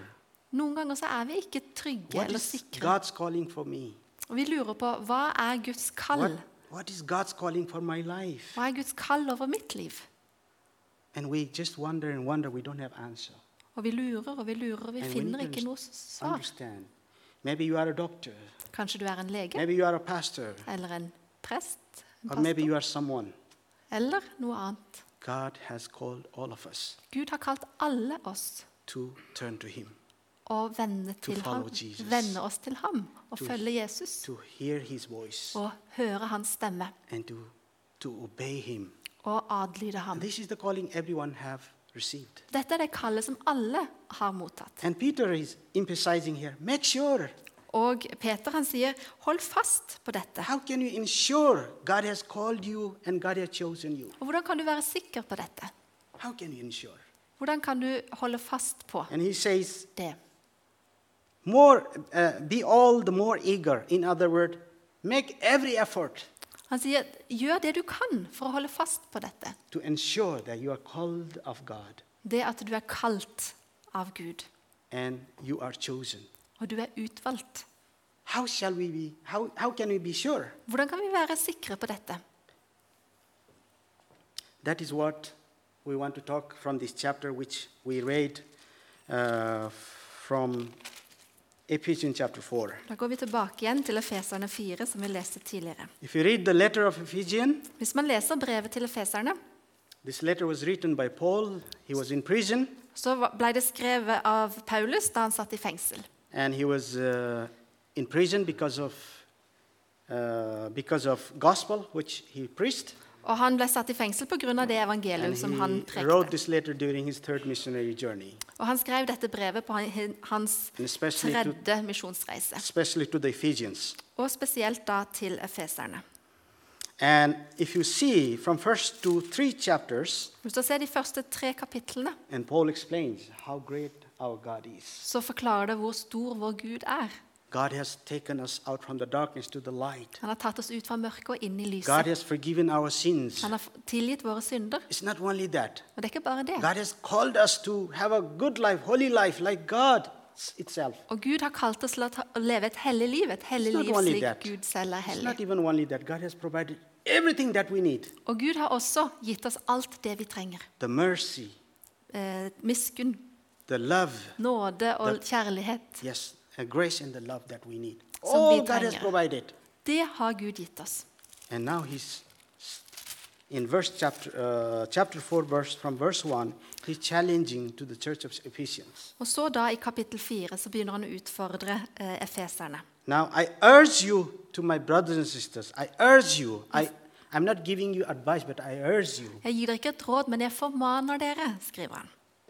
Noen ganger så er vi ikke trygge
What
eller
is
sikre.
God's calling for me?
Og vi lurer på hva er Guds
What,
kall?
what is God's calling for my life?
Hva er Guds kall over mitt liv?
And we just wonder and wonder, we don't have answer.
Og vi lurer og vi lurer, og vi
And we
finner
need
ikke
to
noe svar.
Understand. Maybe you are a doctor.
Kanskje du er en lege
Maybe you are a pastor.
eller en prest en
Or maybe
pastor,
you are someone.
eller noe annet.
God has called all of us
Gud har kalt alle oss
to turn to Him,
å vende
To
til ham,
follow Jesus.
vende oss til ham og
To-
følge Jesus
to hear His voice,
og høre hans stemme
and to, to obey Him.
og adlyde
And
ham.
this is the calling everyone have received.
Dette er det kallet som alle har mottatt.
And Peter is emphasizing here, make sure.
Og Peter han sier, hold fast på dette.
How can you ensure God has called you and God has chosen you?
Og hvordan kan du være sikker på dette?
How can you ensure?
Hvordan kan du holde fast på
And he says,
det?
more, uh, be all the more eager. In other words, make every effort
Han sier, gjør det du kan for å holde fast på dette.
to ensure that you are called of God
Det at du er kalt av Gud,
and you are chosen.
og du er utvalgt.
How shall we be? How, how can we be sure?
Hvordan kan vi være sikre på dette?
That is what we want to talk from this chapter, which we read uh, from Ephesians chapter 4.
Da går vi tilbake igjen til Efeserne 4, som vi leste tidligere.
If you read the letter of Ephesians,
Hvis man leser brevet til efeserne,
this letter was written by Paul. He was in prison
så va- ble det skrevet av Paulus da han satt i fengsel.
and he was uh, in prison because of uh, because of gospel which he preached
Og han ble satt i fengsel pga. det evangeliet
and
som han
he wrote
prekte.
this letter during his third missionary journey
Og han skrev dette brevet på han- hans
and especially to,
tredje misjonsreise,
especially to the ephesians
og spesielt da til efeserne.
and if you see from first to three chapters
Hvis du ser de første tre kapitlene,
and paul explains how great our God is.
så forklarer det hvor stor vår Gud er.
God has taken us out from the darkness to the light.
Han har tatt oss ut fra mørket og inn i
God
lyset.
has forgiven our sins.
Han har f- tilgitt våre synder.
It's not only that.
Og det er ikke bare det.
God has called us to have a good life, holy life, like God itself.
Og Gud har kalt oss til å ta- å leve et hellig liv, et hellig
It's not
liv
only
slik
that.
Gud selv er
It's
hellig.
not even only that. God has provided everything that we need
Og Gud har også gitt oss alt det vi trenger.
the mercy,
Eh, miskunn,
the love,
nåde og
Det-
kjærlighet.
yes, and grace and the love that we need.
Som
All
vi
God has
trenger.
provided.
Det har Gud gitt oss.
And now he's in verse chapter, uh, chapter 4, verse, from verse 1, he's challenging to the church of Ephesians.
Og så da, i kapittel 4, så begynner han å utfordre eh, efeserne.
Now, I urge you to my brothers and sisters, I urge you, I, I'm not giving you advice, but I urge you.
Jeg gir dere ikke et råd, men jeg formaner dere, skriver han.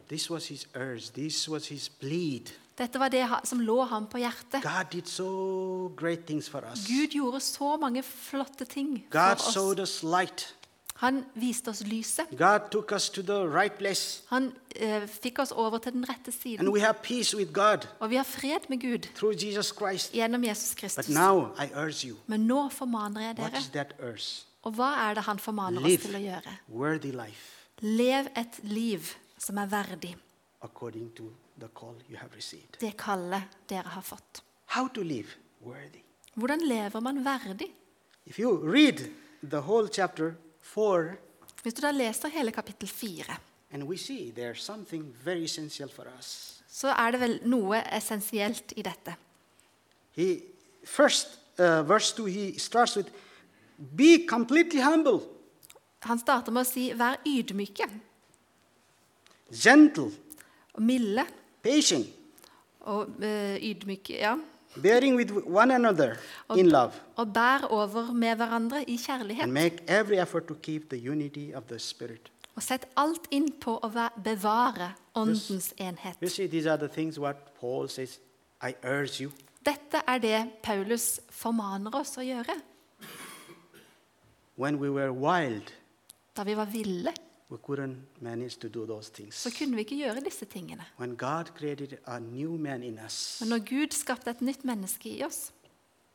This was his urge, this was his plead.
Dette var det ha- som lå ham på hjertet.
God did so great things for us.
Gud gjorde så mange flotte ting
God
for oss.
showed us light.
Han viste oss lyset.
God took us to the right place.
Han eh, fikk oss over til den rette siden.
And we have peace with God
Og vi har fred med Gud
through Jesus Christ.
gjennom Jesus Kristus.
But now I urge you.
Men nå formaner jeg
What
dere.
is that urge?
Og hva er det han formaner oss
Live
til å gjøre?
worthy life
Lev et liv som er verdig
according to the call you have received.
det kallet dere har fått.
How to live worthy.
Hvordan lever man verdig?
If you read the whole chapter 4,
Hvis du da leser hele kapittel 4,
and we see there's something very essential for us.
så er det vel noe essensielt i dette.
He first uh, verse 2 he starts with be completely humble,
Han starter med å si 'vær ydmyke,
gentle,
og milde
patient,
og eh, ydmyke, ja.
bearing with one another in love,
Og bær over med hverandre i kjærlighet.
and make every effort to keep the unity of the spirit.
Og sett alt inn på å væ- bevare åndens enhet.
You see, these are the things what Paul says, I urge you.
Dette er det Paulus formaner oss å gjøre.
When we were wild,
Da vi var ville,
we couldn't manage to do those
så
things.
kunne vi ikke gjøre disse tingene.
When God created a new man in us
Men når Gud skapte et nytt menneske i oss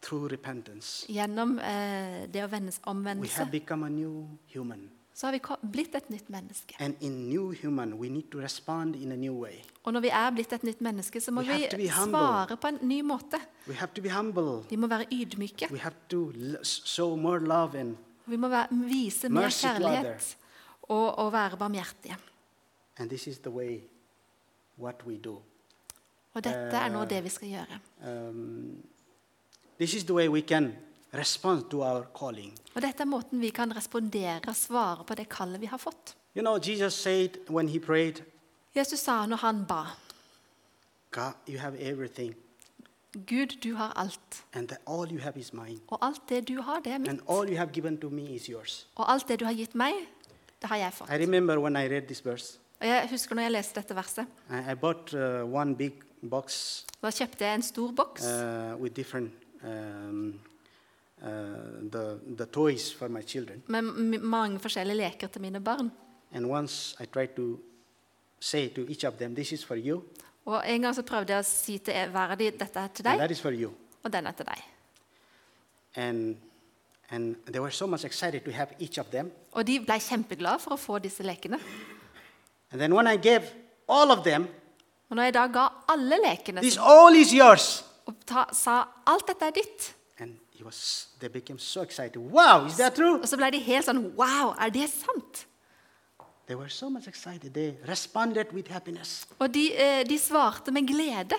through repentance,
gjennom eh, det å vendes
we
omvendelse,
have become a new human.
så har vi ko- blitt et nytt menneske.
And in new human, we need to respond in a new way.
Og når vi er blitt et nytt menneske, så må
We
vi
have to be humble.
svare på en ny måte.
We have to be humble.
Vi må være ydmyke.
We have to l- show more love and,
Vi må være, vise mer
Mercy to
kjærlighet og, og være barmhjertige.
and this is the way what we do.
Og dette er nå
Eh.
det vi skal gjøre.
Um, this is the way we can respond to our calling.
Og dette er måten vi kan respondere og svare på det kallet vi har fått.
You know, Jesus said when he prayed,
Jesus sa når han ba,
God, you have everything,
Gud, du har alt.
and that all you have is mine,
Og alt det du har, det er mitt.
and all you have given to me is yours.
Og alt det du har gitt meg, det har jeg
I
fått.
remember when I read this verse,
Og jeg husker når jeg leste dette verset.
I, I bought uh, one big box
Da kjøpte jeg en stor boks
uh, with different um, uh, the, the toys for my children.
med m- mange forskjellige leker til mine barn.
And once I tried to say to each of them, this is for you,
Og en gang så prøvde jeg å si til hver av de, dette er til
and
deg,
that is for you.
og den er til deg.
And, and they were so much excited to have each of them.
Og de ble kjempeglade for å få disse lekene.
And then when I gave all of them,
Og når jeg da ga alle lekene
this
så-
all is yours.
og ta, sa alt dette er ditt,
And he was, they became so excited. Wow, is that true?
og så ble de helt sånn Wow, er det sant?
They were so much excited. They responded with happiness.
Og de, eh, de svarte med glede.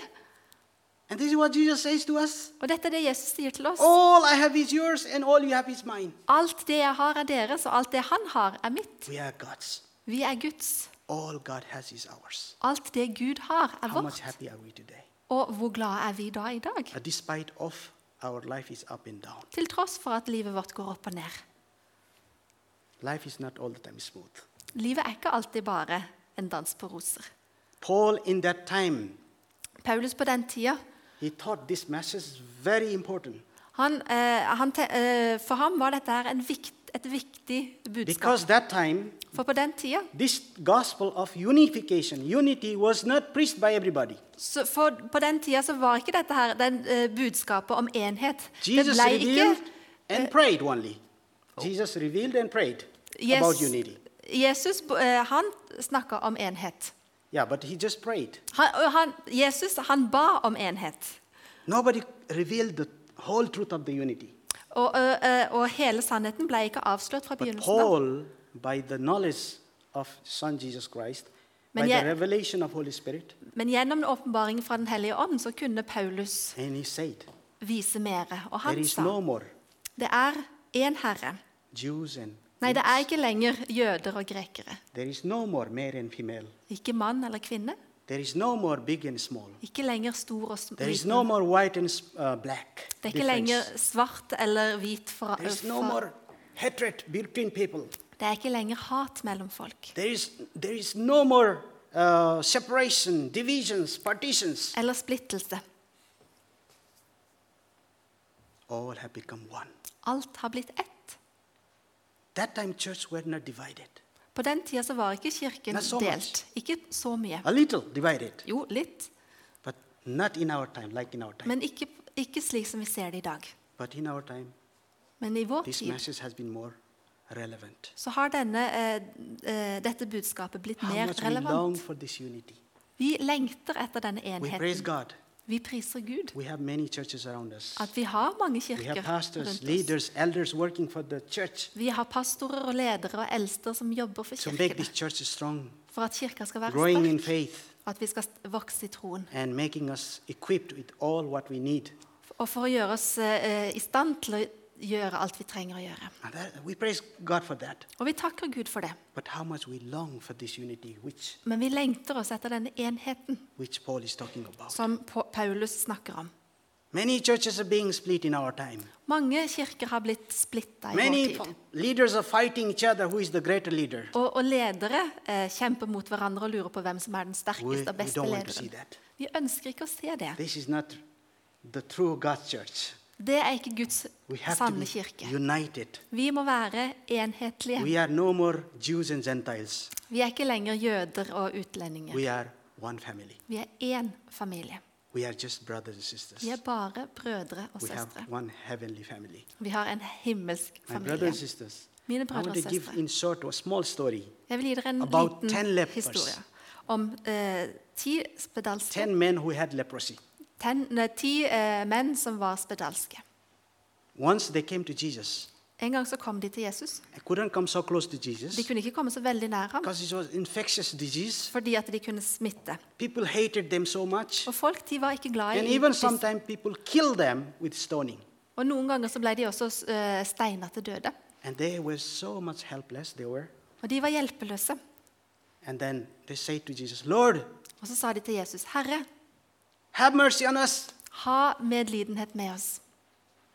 And this is what Jesus says to us
Og dette er det Jesus sier til oss.
All I have is yours, and all you have is mine.
Alt det jeg har, er deres, og alt det han har, er mitt.
We are God's.
Vi er Guds.
All God has is ours.
Alt det Gud har, er
How much
vårt.
happy are we today?
Og hvor glade er vi da i dag?
Uh, Despite of our life is up and down.
Til tross for at livet vårt går opp og ned.
Life is not all the time smooth.
Livet er ikke alltid bare en dans på roser.
Paul, in that time,
Paulus på den tida
he thought this message very important.
han, eh, han, te- eh, For ham var dette her en vikt, et viktig budskap.
Because that time,
For på den tida
this gospel of unification, unity, was not preached by everybody.
så, for på den tida så var ikke dette her den eh, budskapet om enhet. Det
Jesus
ble ikke
revealed and prayed only. Jesus revealed and prayed about unity.
Jesus eh, han snakka om enhet.
Yeah, but he just prayed.
Han, og han, Jesus han ba om enhet.
Nobody revealed the whole truth of the unity.
Og, eh, eh, og hele sannheten ble ikke avslørt fra
But
begynnelsen av.
Paul, by the knowledge of Son Jesus Christ,
Men
by
jeg-
the revelation of Holy Spirit,
Men gjennom en åpenbaring fra Den hellige ånd så kunne Paulus
and he said,
vise mere.
There
Og han
is
sa
no more
det er én herre.
Jews and
Nei, det er ikke lenger jøder og grekere.
there is no more male and female.
Ikke mann eller kvinne.
There is no more big and small.
Ikke lenger stor og sm-
There is
liten.
no more white and uh, black.
Det er ikke
difference.
lenger svart eller hvit fra
There is
fra-
no more hatred between people.
Det er ikke lenger hat mellom folk.
There is, there is no more uh, separation, divisions, partitions.
Eller splittelse.
All have become one.
Alt har blitt ett.
That time church were not divided.
På den tida så var ikke kirken
Not so much.
delt. Ikke så mye.
A little divided,
Jo, litt,
but not in our time, like in our time.
men ikke, ikke slik som vi ser det i dag.
But in our time,
Men i vår
this
tid
message has been more relevant.
så har denne, eh, eh, dette budskapet blitt
How
mer
much we long
relevant.
for this unity.
Vi lengter etter denne
We praise
enheten.
God.
Vi priser Gud.
We have many churches around us.
At vi har mange
We
kirker
have pastors,
rundt oss.
leaders, elders working for the church
Vi har pastorer og ledere og eldster som jobber for
to make
kirkene.
this church strong,
For at kirka skal være
growing in
sterk.
faith,
For at vi skal st- vokse i troen.
and making us equipped with all what we need.
Og for å gjøre oss eh, i stand til å gjøre alt vi trenger å gjøre.
And that, we praise God for that.
Og vi takker Gud for det.
But how much we long for this unity, which,
Men vi lengter oss etter denne enheten
which Paul is talking about.
som Pa- Paulus snakker om.
Many churches are being split in our time.
Mange kirker har blitt splitta i vår
Many
tid.
f- leaders are fighting each other who is the greater leader.
Og, og ledere eh, kjemper mot hverandre og lurer på hvem som er den
We, we
sterkeste og beste
don't want to see
lederen.
that.
Vi ønsker ikke å se det.
This is not the true God's church.
Det er ikke Guds
We have to
sanne
be
kirke.
united.
Vi må være enhetlige.
We are no more Jews and Gentiles.
Vi er ikke lenger jøder og utlendinger.
We are one family.
Vi er én familie.
We are just brothers and sisters.
Vi er bare brødre og
We have
søstre.
one heavenly family.
Vi har en himmelsk
My brothers and
familie.
sisters,
Mine
I
brødre
want
og
to give
søstre.
in short a small story.
Jeg vil gi dere en
about 10
liten
lepers.
historie om eh, ti spedalske
Ten men who had leprosy.
ten, nei, ti eh, menn som var spedalske.
Once they came to Jesus.
En gang så kom de til Jesus.
I couldn't come so close to
De
Jesus
kunne ikke komme så veldig nær ham
because it was infectious disease.
fordi at de kunne smitte.
People hated them so much.
Og folk de var ikke glad
And
i
even
disse-
sometimes people killed them with stoning.
Og noen ganger så ble de også uh, steina til døde.
And they were so much helpless, they were.
Og de var hjelpeløse.
And then they say to Jesus, Lord,
Og så sa de til Jesus, 'Herre,
have mercy on us.
ha medlidenhet med oss'.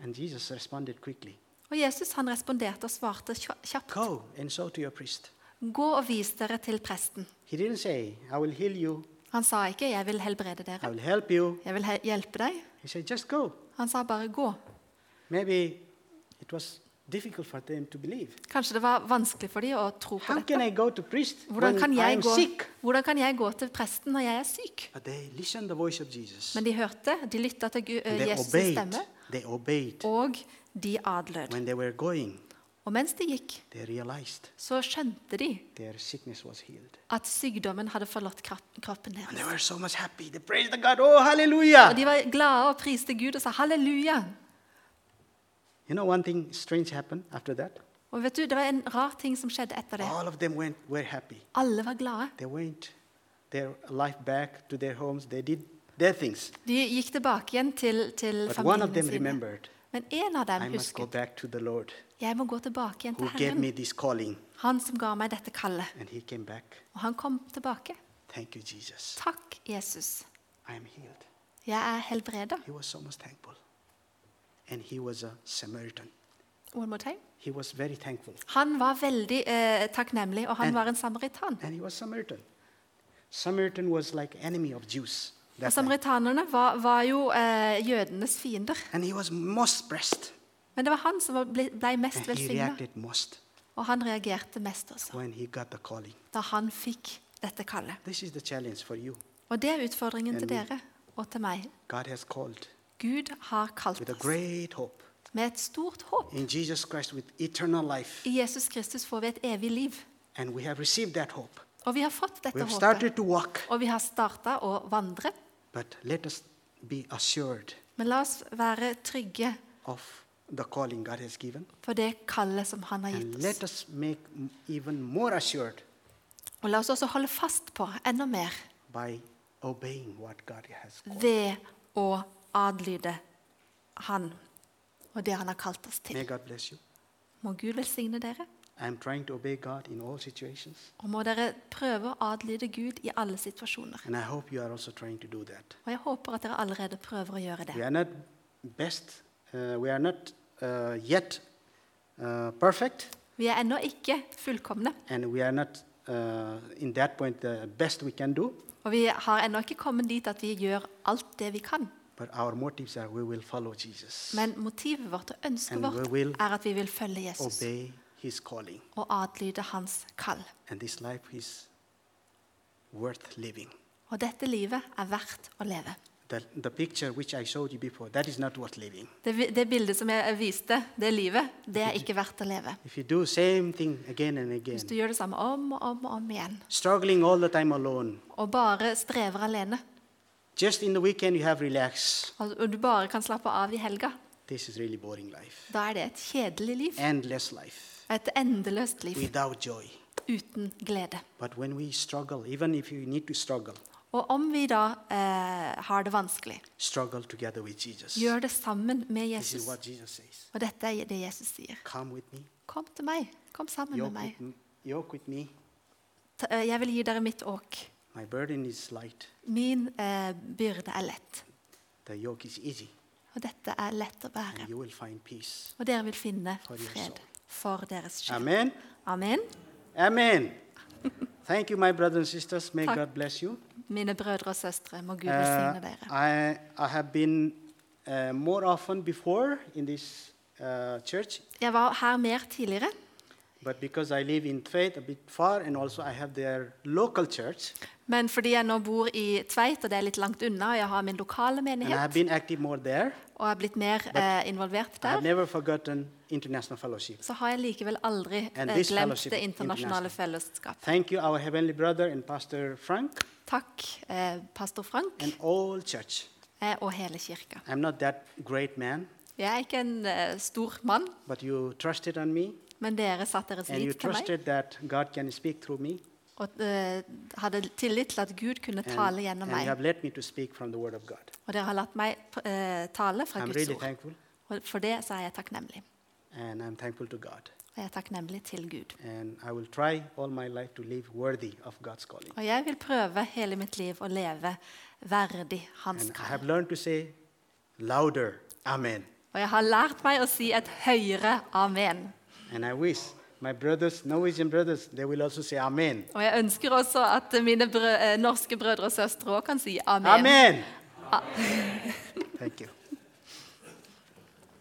And Jesus responded quickly,
Og Jesus han responderte og svarte kja- kjapt,
Go and show to your priest.
'Gå og vis dere til presten'.
He didn't say, I will heal you,
Han sa ikke 'Jeg vil helbrede
I
dere',
will help you.
'Jeg vil he- hjelpe deg'.
He said, Just go.
Han sa bare 'gå'.
Maybe it was difficult for them to believe.
Kanskje det var vanskelig for dem å tro på
How can
dette.
I go to priest
Hvordan kan
when I
jeg
am
gå,
sick?
hvordan kan jeg gå til presten når jeg er syk?
But they listened the voice of Jesus.
Men de hørte, de lytta til Gu-
And
eh,
they
Jesus'
obeyed.
stemme,
They obeyed.
og de adlød.
When they were going,
Og mens de gikk,
they realized
så skjønte de
their sickness was healed.
at sykdommen hadde forlatt krap- kroppen
And
deres.
they were so much happy. They praised the God. Oh,
Og
hallelujah!
de var glade og priste Gud og sa halleluja.
You know, one thing strange happened after that.
Og vet du, Det var en rar ting som skjedde etter det.
All of them went were happy.
Alle var glade.
They went their life back to their homes. They did their things.
De gikk tilbake igjen til, til
But one of
familien
them
sin.
remembered,
Men en av
I
dem
must go
husket
back to the Lord
jeg må gå tilbake igjen
who
til
gave
Herren,
me this calling.
han som ga meg dette kallet.
And he came back.
Og han kom tilbake.
Thank you, Jesus.
Takk, Jesus.
I am healed.
Jeg er helbreda.
He was so much thankful. And he was a Samaritan.
One more time.
He was very thankful.
Han var veldig eh, takknemlig, og han
And-
var en samaritan.
And he was Samaritan. Samaritan was like enemy of Jews.
Og
that time.
samaritanerne var, var jo eh, jødenes fiender.
And he was most pressed.
Men det var han som var- ble, ble mest
And he
velsigna,
reacted most
og han reagerte mest også
when he got the calling.
da han fikk dette kallet.
This is the challenge for you.
Og det er utfordringen til
Amen.
dere og til meg.
God has called
Gud har kalt
with a
oss
great hope.
med et stort håp.
In Jesus Christ, with eternal life.
I Jesus Kristus får vi et evig liv.
And we have received that hope.
Og vi har fått
We
dette
have
håpet.
started to walk,
Og vi har starta å vandre.
but let us be assured
Men la oss være trygge
of the calling God has given.
for det kallet som han har
And
gitt
let
oss.
us make m- even more assured
Og la oss også holde fast på enda mer
by obeying what God has called.
ved å adlyde han og det han har kalt oss
May
til.
God bless you.
Må Gud velsigne dere,
I am trying to obey God in all situations,
og må dere prøve å adlyde Gud i alle situasjoner.
and I hope you are also trying to do that.
Og jeg håper at dere allerede prøver å gjøre det.
We are not best, uh, we are not uh, yet uh, perfect,
Vi er ennå ikke fullkomne,
and we are not uh, in that point the best we can do,
og vi har ennå ikke kommet dit at vi gjør alt det vi kan.
but our motives are we will follow Jesus,
Men motivet vårt og ønsket
And we
vårt
will
er at vi vil følge Jesus
obey His calling,
og adlyde hans kall.
and this life is worth living.
Og dette livet er verdt å leve.
The, the picture which I showed you before, that is not worth living.
Det, vi- det bildet som jeg viste, det livet, det er ikke verdt å leve.
If you do same thing again and
Hvis du
again,
gjør det samme om og om og om igjen,
struggling all the time alone,
og bare strever alene,
just in the weekend you have relax,
og og du bare kan slappe av i helga,
this is really boring life,
da er det et kjedelig liv.
endless life,
Et endeløst liv
without joy.
uten glede.
But when we struggle, even if you need to struggle,
Og om vi da eh, har det vanskelig,
struggle together with Jesus.
gjør det sammen med
This is
Jesus.
what Jesus says.
Og dette er det Jesus sier.
Come with me,
Kom til meg. Kom sammen med
yoke
meg.
with, m- yoke with me.
Ta- eh, Jeg vil gi dere mitt åk.
My burden is light,
Min eh, byrde er lett.
the yoke is easy,
Og dette er lett å bære.
and you will find peace.
Og dere vil finne
For your
fred
soul.
for deres skyld.
Amen.
Amen.
Amen. Thank you, my brothers and sisters. May
Tak.
God bless you.
Mine brødre og søstre, må Gud
Uh,
velsigne dere.
I, I have been uh, more often before in this uh, church,
Jeg var her mer tidligere,
but because I live in Tveit a bit far, and also I have their local church,
men fordi jeg nå bor i Tveit, og det er litt langt unna, og jeg har min lokale
and I have
menighet,
been active more there.
og er blitt mer eh, involvert
I have
der,
never forgotten International Fellowship.
så har jeg likevel aldri eh,
And this
glemt
fellowship,
det internasjonale fellesskapet.
Thank you, our Heavenly Brother and Pastor Frank,
Takk, eh, pastor Frank
and all church.
eh, og hele kirka.
I'm not that great man,
Jeg er ikke en eh, stor mann,
but you trusted on me,
men dere satte deres
and you
lit til meg
trusted that God can speak through me,
og eh, hadde tillit til at Gud kunne
and,
tale gjennom
and you
meg.
have led me to speak from the Word of God.
Og dere har latt meg eh, tale fra
I'm
Guds
really
ord.
thankful,
Og for det så er jeg takknemlig.
and I'm thankful to God.
Og jeg er takknemlig til Gud.
And I will try all my life to live worthy of God's calling.
Og jeg vil prøve hele mitt liv å leve verdig hans
And I have
kall.
learned to say louder, Amen.
Og jeg har lært meg å si et høyere amen.
And I wish my brothers, Norwegian brothers, they will also say Amen.
Og jeg ønsker også at mine brø eh, norske brødre og søstre også kan si amen.
Amen.
Ah.
Thank you.